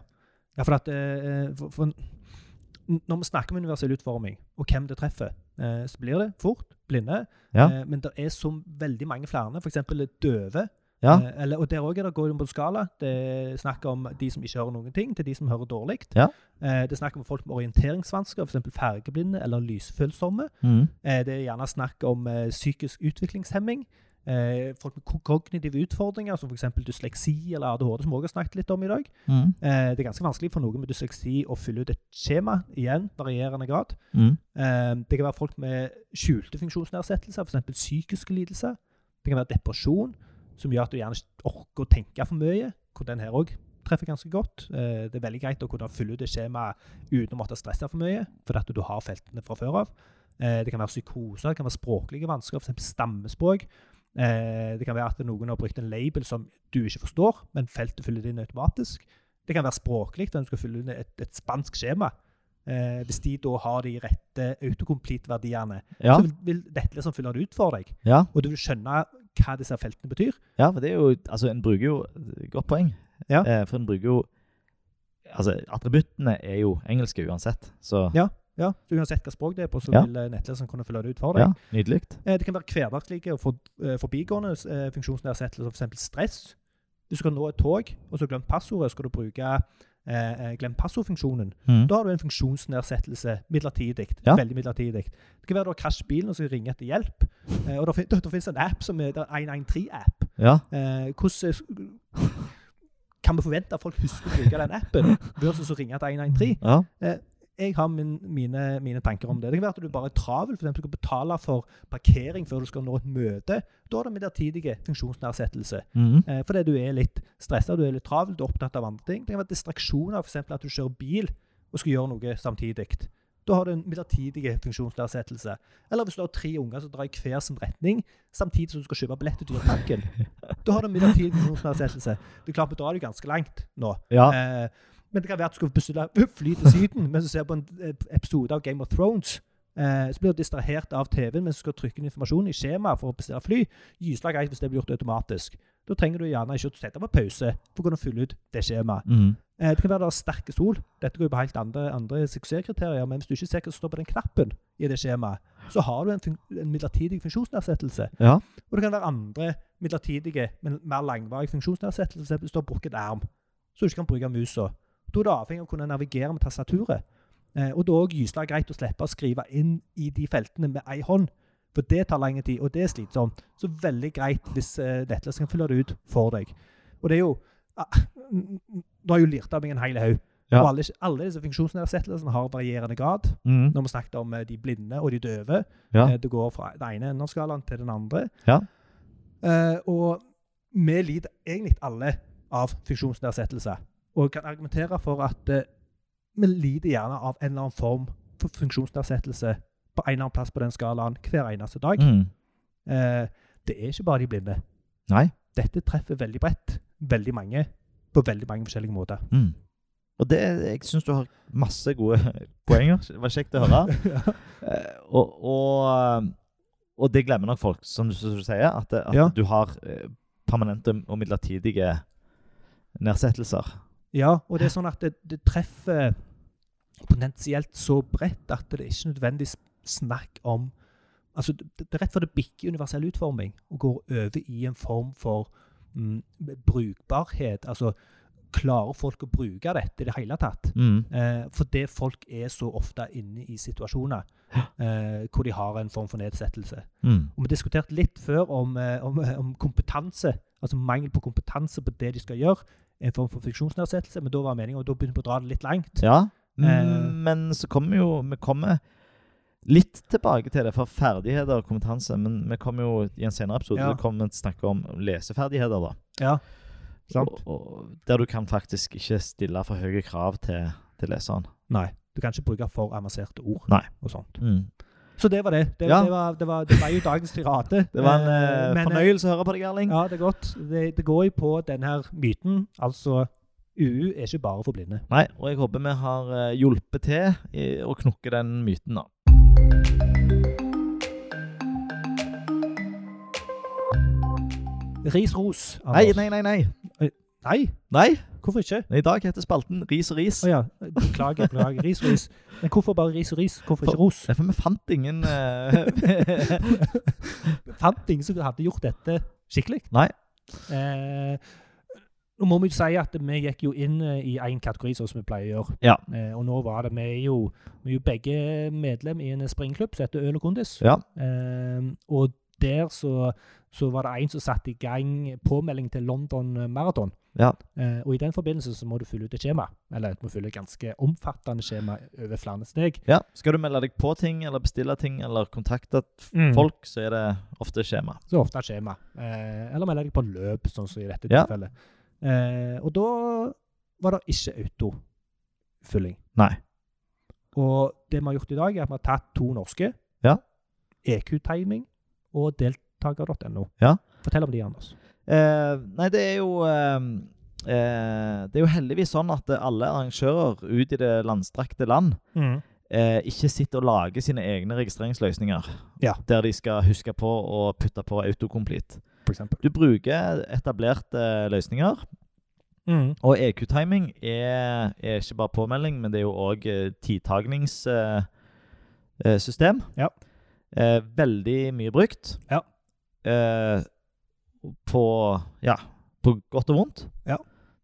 Speaker 2: ja for at eh, for, for, n- Når vi snakker om universell utforming, og hvem det treffer, eh, så blir det fort blinde.
Speaker 1: Ja.
Speaker 2: Eh, men det er så veldig mange flere, f.eks. døve.
Speaker 1: Ja.
Speaker 2: Eh, eller, og der òg går det på en skala. Det er snakk om de som ikke hører noen ting, til de som hører dårlig.
Speaker 1: Ja.
Speaker 2: Eh, det er snakk om folk med orienteringsvansker, f.eks. fargeblinde eller lysfølsomme.
Speaker 1: Mm.
Speaker 2: Eh, det er gjerne snakk om eh, psykisk utviklingshemming. Eh, folk med ko- kognitive utfordringer, som f.eks. dysleksi eller ADHD, som vi òg har snakket litt om i dag.
Speaker 1: Mm.
Speaker 2: Eh, det er ganske vanskelig for noen med dysleksi å fylle ut et skjema, igjen varierende grad.
Speaker 1: Mm.
Speaker 2: Eh, det kan være folk med skjulte funksjonsnedsettelser, f.eks. psykiske lidelser. Det kan være depresjon, som gjør at du gjerne ikke orker å tenke for mye, hvor den her òg treffer ganske godt. Eh, det er veldig greit å kunne fylle ut et skjema uten å måtte stresse for mye, fordi at du har feltene fra før av. Eh, Det kan være psykoser, det kan være språklige vansker, f.eks. stammespråk. Eh, Det kan være at noen har brukt en label som du ikke forstår, men feltet fyller det inn automatisk. Det kan være språklig, der du skal fylle inn et, et spansk skjema. Eh, Hvis de da har de rette autocomplete-verdiene,
Speaker 1: Ja,
Speaker 2: så vil, vil dette liksom fylle det ut for deg.
Speaker 1: ja,
Speaker 2: Og du vil skjønne hva disse feltene betyr.
Speaker 1: ja, for det er jo Altså, en bruker jo Godt poeng.
Speaker 2: Ja.
Speaker 1: Eh, for en bruker jo Altså, attributtene er jo engelske uansett, så
Speaker 2: Ja. Ja, så Uansett hva språk det er på, så
Speaker 1: Ja.
Speaker 2: vil eh, nettleseren kunne fylle det ut for deg.
Speaker 1: ja nydelig.
Speaker 2: Eh, Det kan være hverdagslige og for, eh, forbigående eh, funksjonsnedsettelser, f.eks. stress. Hvis du skal nå et tog, og så har du glemt passordet, skal du bruke eh, eh, glem passordfunksjonen.
Speaker 1: Mhm.
Speaker 2: Da har du en funksjonsnedsettelse midlertidig.
Speaker 1: Ja.
Speaker 2: Veldig midlertidig. Det kan være du har krasjet bilen og så ringer etter hjelp. Eh, og Det fin- det finnes en app som er det er 113-app.
Speaker 1: Ja.
Speaker 2: Eh, hvordan eh, kan vi forvente at folk husker å bruke den appen versus å ringe til 113?
Speaker 1: ja.
Speaker 2: jeg har min, mine, mine tanker om det. Det kan være at du bare er travel, f.eks. du skal betale for parkering før du skal nå et møte. Da er det midlertidig funksjonsnedsettelse.
Speaker 1: Mhm.
Speaker 2: Eh, fordi du er litt stressa, du er litt travel, du er opptatt av andre ting. Det kan være distraksjoner, f.eks. at du kjører bil og skal gjøre noe samtidig. Da har du en midlertidig funksjonsnedsettelse. Eller hvis du har tre unger som drar i hver sin retning samtidig som du skal kjøpe billett til Dyreparken. Da har du en midlertidig funksjonsnedsettelse. Det er klart, vi drar jo ganske langt nå.
Speaker 1: ja.
Speaker 2: Eh, men det kan være at du skal bestille fly til Syden mens du ser på en eh, episode av Game of Thrones. Eh, så blir du distrahert av TV-en mens du skal trykke inn informasjon i skjemaet for å bestille fly. Gyslag greit hvis det blir gjort automatisk. Da trenger du gjerne ikke å sette på pause for å kunne fylle ut det skjemaet.
Speaker 1: Mhm.
Speaker 2: Eh, det kan være det er sterke sol. Dette går jo på helt andre, andre suksesskriterier, men hvis du ikke ser hva som står på den knappen i det skjemaet, så har du en, fun en midlertidig funksjonsnedsettelse.
Speaker 1: ja.
Speaker 2: Og det kan være andre midlertidige, men mer langvarige funksjonsnedsettelser. For eksempel Hvis du har brukket arm, så du ikke kan bruke musa. Da er det avhengig av å kunne navigere med tastaturet. Eh, og da er også gyselig greit å slippe å skrive inn i de feltene med ei hånd. For det tar lang tid, og det er slitsomt. Så veldig greit hvis eh, nettleseren kan fylle det ut for deg. Og det er jo ah, n- n- Nå har jeg jo lært av meg en hel haug.
Speaker 1: Ja.
Speaker 2: Og alle, alle disse funksjonsnedsettelsene har varierende grad.
Speaker 1: Mhm.
Speaker 2: Når vi snakket om eh, de blinde og de døve,
Speaker 1: Ja.
Speaker 2: Eh, Det går fra den ene enden av skalaen til den andre.
Speaker 1: Ja.
Speaker 2: Eh, og vi lider egentlig alle av funksjonsnedsettelse. Og kan argumentere for at eh, vi lider gjerne av en eller annen form for funksjonsnedsettelse på en eller annen plass på den skalaen hver eneste dag.
Speaker 1: Mhm.
Speaker 2: Eh, det er ikke bare de blinde.
Speaker 1: Nei.
Speaker 2: Dette treffer veldig bredt. Veldig mange på veldig mange forskjellige måter.
Speaker 1: Mm. Og det, jeg syns du har masse gode poenger. Det var kjekt å høre. Eh, og, og, og det glemmer nok folk, som du, som du sier, at, det- at
Speaker 2: Ja.
Speaker 1: du har eh, permanente og midlertidige nedsettelser.
Speaker 2: Ja, og det er sånn at det, det treffer potensielt så bredt at det ikke nødvendigvis snakk om Altså, det, det er rett for det bikker universell utforming og går over i en form for mm, brukbarhet. Altså, klarer folk å bruke dette i det hele tatt?
Speaker 1: Mm.
Speaker 2: Eh, Fordi folk er så ofte inne i situasjoner eh, hvor de har en form for nedsettelse.
Speaker 1: Mm.
Speaker 2: Og vi diskuterte litt før om, eh, om, eh, om kompetanse, altså mangel på kompetanse på det de skal gjøre, en form for funksjonsnedsettelse, men da var meningen, og da begynte vi å dra det litt langt.
Speaker 1: Ja.
Speaker 2: Eh.
Speaker 1: Men så kommer jo Vi kommer litt tilbake til det for ferdigheter og kompetanse, men vi kommer jo i en senere episode
Speaker 2: Ja.
Speaker 1: vi kommer til å snakke om leseferdigheter. da.
Speaker 2: Ja, sant?
Speaker 1: Og, og, der du kan faktisk ikke stille for høye krav til, til leseren.
Speaker 2: Nei, du kan ikke bruke for avanserte ord
Speaker 1: Nei.
Speaker 2: og sånt.
Speaker 1: Mm.
Speaker 2: Så det var det. Det,
Speaker 1: Ja.
Speaker 2: det, var, det, var, det var jo dagens tirade.
Speaker 1: Det var en eh,
Speaker 2: Eh, men, eh,
Speaker 1: fornøyelse å høre på deg, Erling.
Speaker 2: Ja, det er godt. Det, det går jo på denne her myten, altså UU er ikke bare for blinde.
Speaker 1: Nei, og jeg håper vi har eh, hjulpet til i å knukke den myten, da.
Speaker 2: Ris ros,
Speaker 1: Nei,
Speaker 2: Anders.
Speaker 1: nei, nei. Nei,
Speaker 2: Nei,
Speaker 1: nei.
Speaker 2: hvorfor ikke?
Speaker 1: i dag heter spalten Ris og ris.
Speaker 2: Å ja, beklager, beklager. Ris og ris. Men hvorfor bare ris og ris? Hvorfor ikke ros?
Speaker 1: Det er for vi fant ingen eh,
Speaker 2: fant ingen som hadde gjort dette skikkelig.
Speaker 1: Nei.
Speaker 2: Eh, nå må vi jo si at vi gikk jo inn eh, i én kategori, sånn som vi pleier å gjøre.
Speaker 1: Ja.
Speaker 2: Eh, og nå var det Vi er jo, vi er jo begge medlem i en springklubb som heter Øl og Kondis.
Speaker 1: Ja.
Speaker 2: Eh, og der så, så var det en som satte i gang påmelding til London Marathon.
Speaker 1: Ja.
Speaker 2: Eh, og i den forbindelse så må du fylle ut et skjema. Eller du må fylle et ganske omfattende skjema over flere steg.
Speaker 1: ja. Skal du melde deg på ting, eller bestille ting, eller kontakte f-
Speaker 2: Mm.
Speaker 1: folk, så er det ofte skjema.
Speaker 2: Så ofte er skjema. Eh, eller melder deg på løp, sånn som i dette
Speaker 1: Ja.
Speaker 2: tilfellet. Eh, og da var det ikke autofylling.
Speaker 1: Nei.
Speaker 2: Og det vi har gjort i dag, er at vi har tatt to norske
Speaker 1: Ja.
Speaker 2: EQ-timing og deltaker.no.
Speaker 1: Ja.
Speaker 2: Fortell om de, Anders.
Speaker 1: Eh, nei, det er jo eh, eh, Det er jo heldigvis sånn at alle arrangører ut i det landstrakte land eh, ikke sitter og lager sine egne registreringsløsninger
Speaker 2: Ja.
Speaker 1: der de skal huske på å putte på autocomplete.
Speaker 2: For eksempel.
Speaker 1: Du bruker etablerte eh, løsninger, og EQ-timing er, er ikke bare påmelding, men det er jo eh, òg tidtagningssystem.
Speaker 2: Ja.
Speaker 1: Eh, veldig mye brukt.
Speaker 2: Ja.
Speaker 1: Eh, på Ja, på godt og vondt.
Speaker 2: Ja.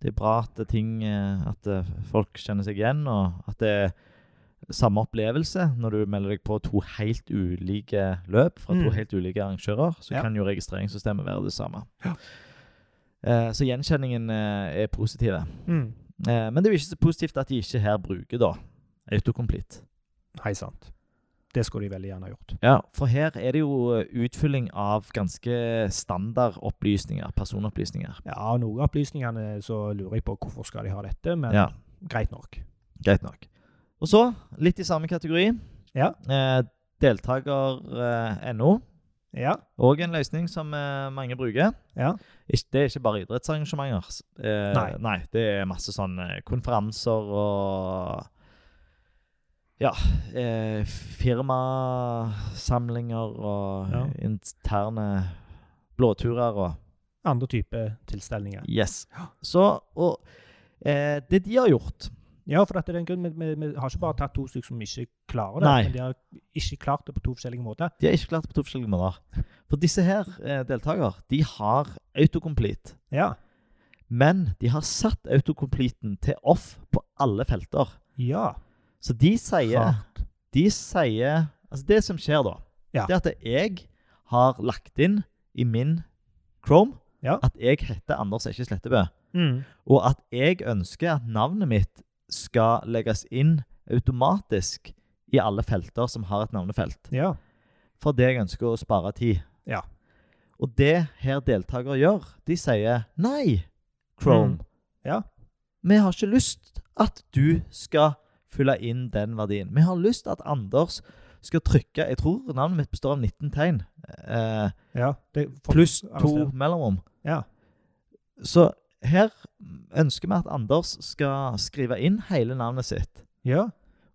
Speaker 1: Det er bra at ting eh, At eh, folk kjenner seg igjen, og at det er samme opplevelse når du melder deg på to helt ulike løp fra to
Speaker 2: Mm.
Speaker 1: helt ulike arrangører, så
Speaker 2: Ja.
Speaker 1: kan jo registreringssystemet være det samme. Eh, så gjenkjenningen eh, er positive.
Speaker 2: Mm.
Speaker 1: Eh, men det er jo ikke så positivt at de ikke her bruker da autocomplete.
Speaker 2: Hei sant. Det skulle de veldig gjerne ha gjort.
Speaker 1: Ja, for her er det jo eh, utfylling av ganske standard opplysninger, personopplysninger.
Speaker 2: Ja, noen av opplysningene så lurer jeg på hvorfor skal de ha dette, men
Speaker 1: Ja,
Speaker 2: greit nok.
Speaker 1: greit nok. Og så, litt i samme kategori,
Speaker 2: Ja.
Speaker 1: eh, deltaker.no.
Speaker 2: Ja.
Speaker 1: Og en løsning som eh, mange bruker.
Speaker 2: Ja.
Speaker 1: Ikk- det er ikke bare idrettsarrangementer. S- Eh,
Speaker 2: Nei.
Speaker 1: det er masse sånn eh, konferanser og Ja. Eh, firmasamlinger og
Speaker 2: Ja.
Speaker 1: interne blåturer og
Speaker 2: Andre typer tilstelninger.
Speaker 1: Yes.
Speaker 2: Ja.
Speaker 1: Så Og eh, det de har gjort
Speaker 2: Ja, for at det er en grunn. Vi, vi, vi har ikke bare tatt to stykker som ikke klarer det,
Speaker 1: Nei.
Speaker 2: men de har ikke klart det på to forskjellige måter.
Speaker 1: De har ikke klart det på to forskjellige måter. For disse her eh, deltaker, de har autocomplete.
Speaker 2: Ja.
Speaker 1: Men de har satt autocompleten til off på alle felter.
Speaker 2: Ja.
Speaker 1: Så de sier,
Speaker 2: Klart.
Speaker 1: de sier Altså, det som skjer da,
Speaker 2: Ja.
Speaker 1: det er at jeg har lagt inn i min Chrome
Speaker 2: Ja.
Speaker 1: at jeg heter Anders Ekke Slettebø.
Speaker 2: Mm.
Speaker 1: Og at jeg ønsker at navnet mitt skal legges inn automatisk i alle felter som har et navnefelt.
Speaker 2: Ja.
Speaker 1: For det jeg ønsker å spare tid.
Speaker 2: Ja.
Speaker 1: Og det her deltakere gjør, de sier nei, Chrome.
Speaker 2: Mm. Ja.
Speaker 1: Vi har ikke lyst at du skal fylle inn den verdien. Vi har lyst at Anders skal trykke Jeg tror navnet mitt består av 19 tegn. Eh,
Speaker 2: ja. Det, for,
Speaker 1: pluss to
Speaker 2: arrester.
Speaker 1: mellomrom.
Speaker 2: Ja.
Speaker 1: Så her ønsker vi at Anders skal skrive inn hele navnet sitt.
Speaker 2: Ja.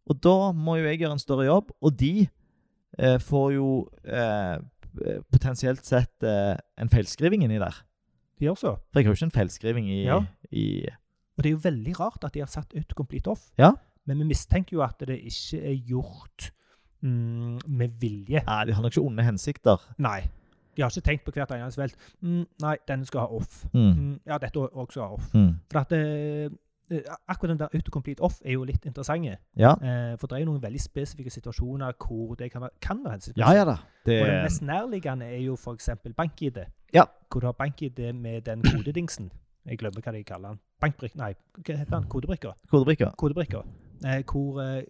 Speaker 1: Og da må jo jeg gjøre en større jobb, og de eh, får jo eh, potensielt sett eh, en feilskriving inni der.
Speaker 2: De gjør så.
Speaker 1: For jeg har jo ikke en feilskriving i,
Speaker 2: Ja.
Speaker 1: i
Speaker 2: Og det er jo veldig rart at de har satt ut Complete Off.
Speaker 1: Ja.
Speaker 2: Men vi mistenker jo at det ikke er gjort mm, med vilje.
Speaker 1: Nei, de har nok ikke onde hensikter.
Speaker 2: Nei. De har ikke tenkt på hvert eneste felt. Mm, nei, denne skal ha off.
Speaker 1: Mm.
Speaker 2: Mm, ja, dette òg skal ha off.
Speaker 1: Mm.
Speaker 2: For at eh, eh, akkurat den der autocomplete off er jo litt interessante.
Speaker 1: Ja.
Speaker 2: Eh, for det er jo noen veldig spesifikke situasjoner hvor det kan være, kan være
Speaker 1: ja,
Speaker 2: hensiktsmessig.
Speaker 1: ja da. Det,
Speaker 2: Og den mest nærliggende er jo f.eks. bank-ID.
Speaker 1: Ja.
Speaker 2: Hvor du har bank-ID med den kodedingsen. Jeg glemmer hva de kaller den. Bankbrikk... Nei, hva heter den? Kodebrikka?
Speaker 1: kodebrikker.
Speaker 2: kodebrikker, eh, hvor eh,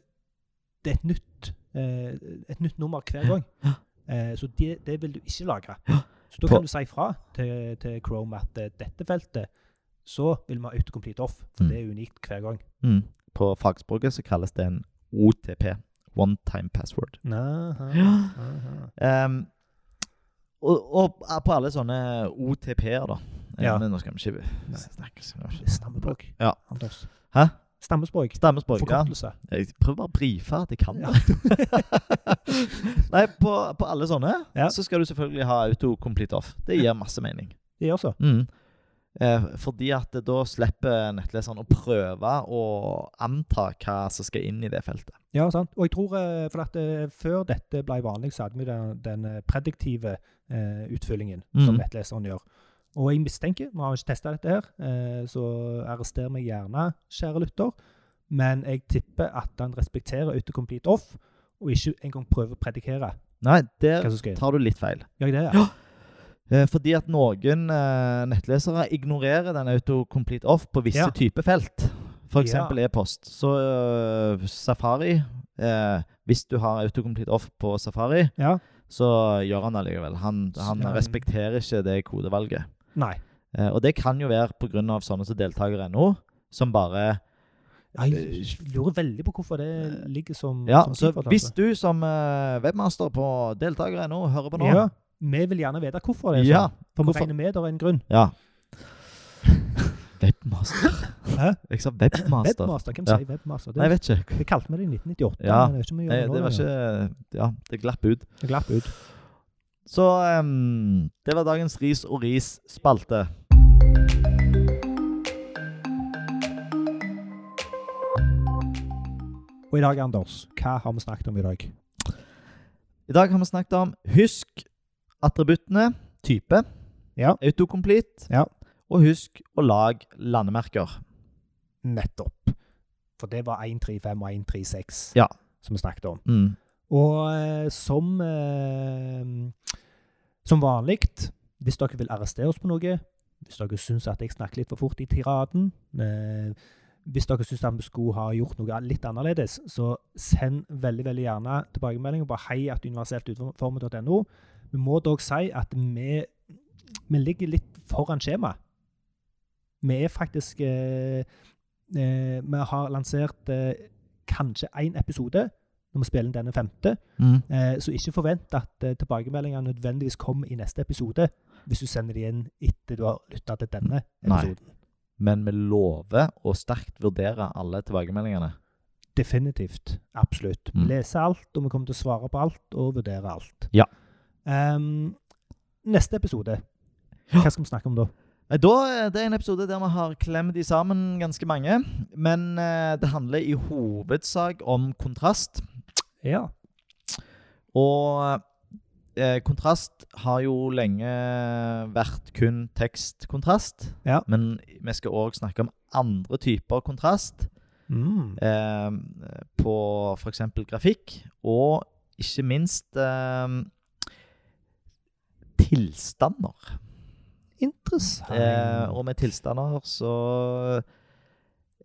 Speaker 2: det er et nytt, eh, et nytt nummer hver gang. Eh, så det, det vil du ikke lagre. Så
Speaker 1: På-
Speaker 2: da kan du si fra til, til Chrome at eh, dette feltet så vil vi ha autocomplete off, for
Speaker 1: Mm.
Speaker 2: det er unikt hver gang.
Speaker 1: Mm. På fagspråket så kalles det en OTP. One time password.
Speaker 2: Aha, aha.
Speaker 1: Ehm, og, og på alle sånne OTP-er, da. Eh,
Speaker 2: Ja.
Speaker 1: Men nå skal vi ikke
Speaker 2: Nei.
Speaker 1: snakke sånn.
Speaker 2: Stammespråk,
Speaker 1: Ja.
Speaker 2: Anders.
Speaker 1: Hæ?
Speaker 2: Stammespråk.
Speaker 1: Stammespråk, ja.
Speaker 2: Forkortelse.
Speaker 1: Jeg prøver bare å brife at jeg kan
Speaker 2: Ja.
Speaker 1: det. Nei, på, på alle sånne
Speaker 2: Ja.
Speaker 1: så skal du selvfølgelig ha auto-complete off. Det gir masse mening.
Speaker 2: Det gjør så.
Speaker 1: Mm. Eh, fordi at da slipper nettleseren å prøve å anta hva som skal inn i det feltet.
Speaker 2: Ja, sant. Og jeg tror, eh, for at eh, Før dette ble vanlig, så hadde vi den, den eh, prediktive eh, utfyllingen som
Speaker 1: Mhm.
Speaker 2: nettleseren gjør. Og jeg mistenker, vi har jo ikke testa dette her, eh, så arrester meg gjerne, kjære lytter, men jeg tipper at han respekterer autocomplete off, og ikke engang prøver å predikere
Speaker 1: Nei, der
Speaker 2: hva som skal inn.
Speaker 1: tar du litt feil.
Speaker 2: Gjør jeg det? Ja.
Speaker 1: Eh, fordi at noen eh, nettlesere ignorerer den auto-complete off på visse
Speaker 2: Ja.
Speaker 1: typer felt. F.eks.
Speaker 2: Ja.
Speaker 1: e-post. Så eh, Safari eh, Hvis du har autocomplete off på Safari,
Speaker 2: ja?
Speaker 1: så gjør han det likevel. Han, han
Speaker 2: Ja.
Speaker 1: respekterer ikke det kodevalget.
Speaker 2: Nei.
Speaker 1: Eh, og det kan jo være pga. sånne som deltaker.no, som bare
Speaker 2: Ja, Jeg lurer veldig på hvorfor det ligger som
Speaker 1: Ja,
Speaker 2: som
Speaker 1: så
Speaker 2: tilfalt,
Speaker 1: hvis
Speaker 2: altså.
Speaker 1: du som eh, webmaster på deltakere nå hører på nå
Speaker 2: ja, Vi vil gjerne vite hvorfor det er
Speaker 1: ja,
Speaker 2: sånn. For vi
Speaker 1: hvorfor-
Speaker 2: regner med det er en grunn.
Speaker 1: ja. Webmaster.
Speaker 2: Hæ?
Speaker 1: Jeg sa webmaster.
Speaker 2: Webmaster? Hvem
Speaker 1: Ja.
Speaker 2: sier webmaster?
Speaker 1: Nei,
Speaker 2: Det,
Speaker 1: jeg vet ikke.
Speaker 2: vi kalte vi det i 1998.
Speaker 1: Ja.
Speaker 2: Men det er ikke mye å
Speaker 1: Nei,
Speaker 2: gjøre nå
Speaker 1: det var
Speaker 2: lenger.
Speaker 1: ikke Ja, det glapp ut.
Speaker 2: Det glapp ut.
Speaker 1: Så ehm, det var dagens Ris og ris-spalte.
Speaker 2: Og i dag, Anders, hva har vi snakket om i dag?
Speaker 1: I dag har vi snakket om husk attributtene, type,
Speaker 2: Ja.
Speaker 1: autocomplete,
Speaker 2: Ja.
Speaker 1: og husk å lage landemerker.
Speaker 2: Nettopp. For det var 135 og 136
Speaker 1: Ja.
Speaker 2: som vi snakket om.
Speaker 1: Mm.
Speaker 2: Og eh, som eh, Som vanlig, hvis dere vil arrestere oss på noe, hvis dere syns at jeg snakker litt for fort i tiraden eh, Hvis dere syns vi skulle ha gjort noe litt annerledes, så send veldig veldig gjerne tilbakemeldinger på heiatuniverseltutformet.no. Vi må dog si at vi, vi ligger litt foran skjema. Vi er faktisk eh, eh, Vi har lansert eh, kanskje én episode når vi spiller inn denne femte.
Speaker 1: Mm.
Speaker 2: Eh, Så ikke forvent at eh, tilbakemeldingene nødvendigvis kommer i neste episode, hvis du sender de inn etter du har lytta til denne
Speaker 1: Nei.
Speaker 2: episoden.
Speaker 1: Men vi lover å sterkt vurdere alle tilbakemeldingene.
Speaker 2: Definitivt. Absolutt. Vi
Speaker 1: Mm.
Speaker 2: leser alt, og vi kommer til å svare på alt og vurdere alt.
Speaker 1: Ja.
Speaker 2: Ehm, neste episode,
Speaker 1: Ja.
Speaker 2: hva skal vi snakke om da?
Speaker 1: Nei, Da, eh, det er en episode der vi har klemt de sammen ganske mange. Men eh, det handler i hovedsak om kontrast.
Speaker 2: Ja.
Speaker 1: Og eh, kontrast har jo lenge vært kun tekstkontrast.
Speaker 2: Ja.
Speaker 1: Men vi skal òg snakke om andre typer kontrast.
Speaker 2: Mm.
Speaker 1: Eh, på f.eks. grafikk. Og ikke minst eh, tilstander.
Speaker 2: Interessant.
Speaker 1: Eh, og med tilstander så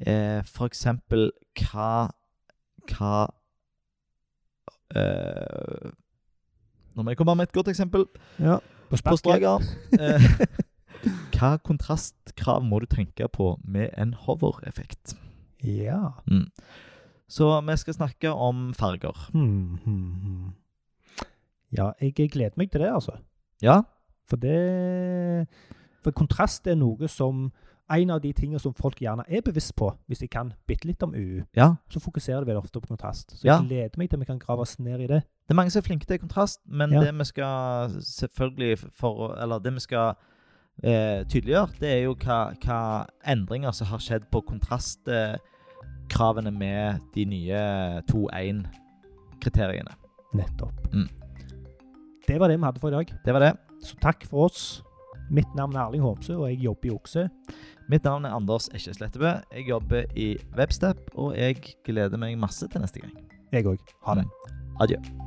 Speaker 1: eh, For eksempel hva Hva eh, Nå må jeg komme med et godt eksempel
Speaker 2: ja.
Speaker 1: på
Speaker 2: På sparket.
Speaker 1: Strager. Eh, hva kontrastkrav må du tenke på med en hover-effekt?
Speaker 2: Ja.
Speaker 1: Så vi skal snakke om farger.
Speaker 2: Hmm, hmm, hmm. Ja, jeg gleder meg til det, altså.
Speaker 1: Ja,
Speaker 2: For det For kontrast er noe som En av de tingene som folk gjerne er bevisst på, hvis de kan bitte litt om UU,
Speaker 1: ja.
Speaker 2: så fokuserer de veldig ofte på kontrast. Så jeg
Speaker 1: Ja.
Speaker 2: gleder meg til vi kan grave oss ned i det.
Speaker 1: Det er mange som er flinke til kontrast, men
Speaker 2: Ja.
Speaker 1: det vi skal selvfølgelig for, Eller det vi skal eh, tydeliggjøre, det er jo hva, hva endringer som har skjedd på kontrastkravene med de nye 2.1-kriteriene.
Speaker 2: Nettopp.
Speaker 1: Mm.
Speaker 2: Det var det vi hadde for i dag.
Speaker 1: Det var det.
Speaker 2: Så takk for oss. Mitt navn er Erling Homsø, og jeg jobber i Okse.
Speaker 1: Mitt navn er Anders Esje Slettebø. Jeg jobber i Webstep, og jeg gleder meg masse til neste gang.
Speaker 2: Jeg òg. Ha det.
Speaker 1: Adjø.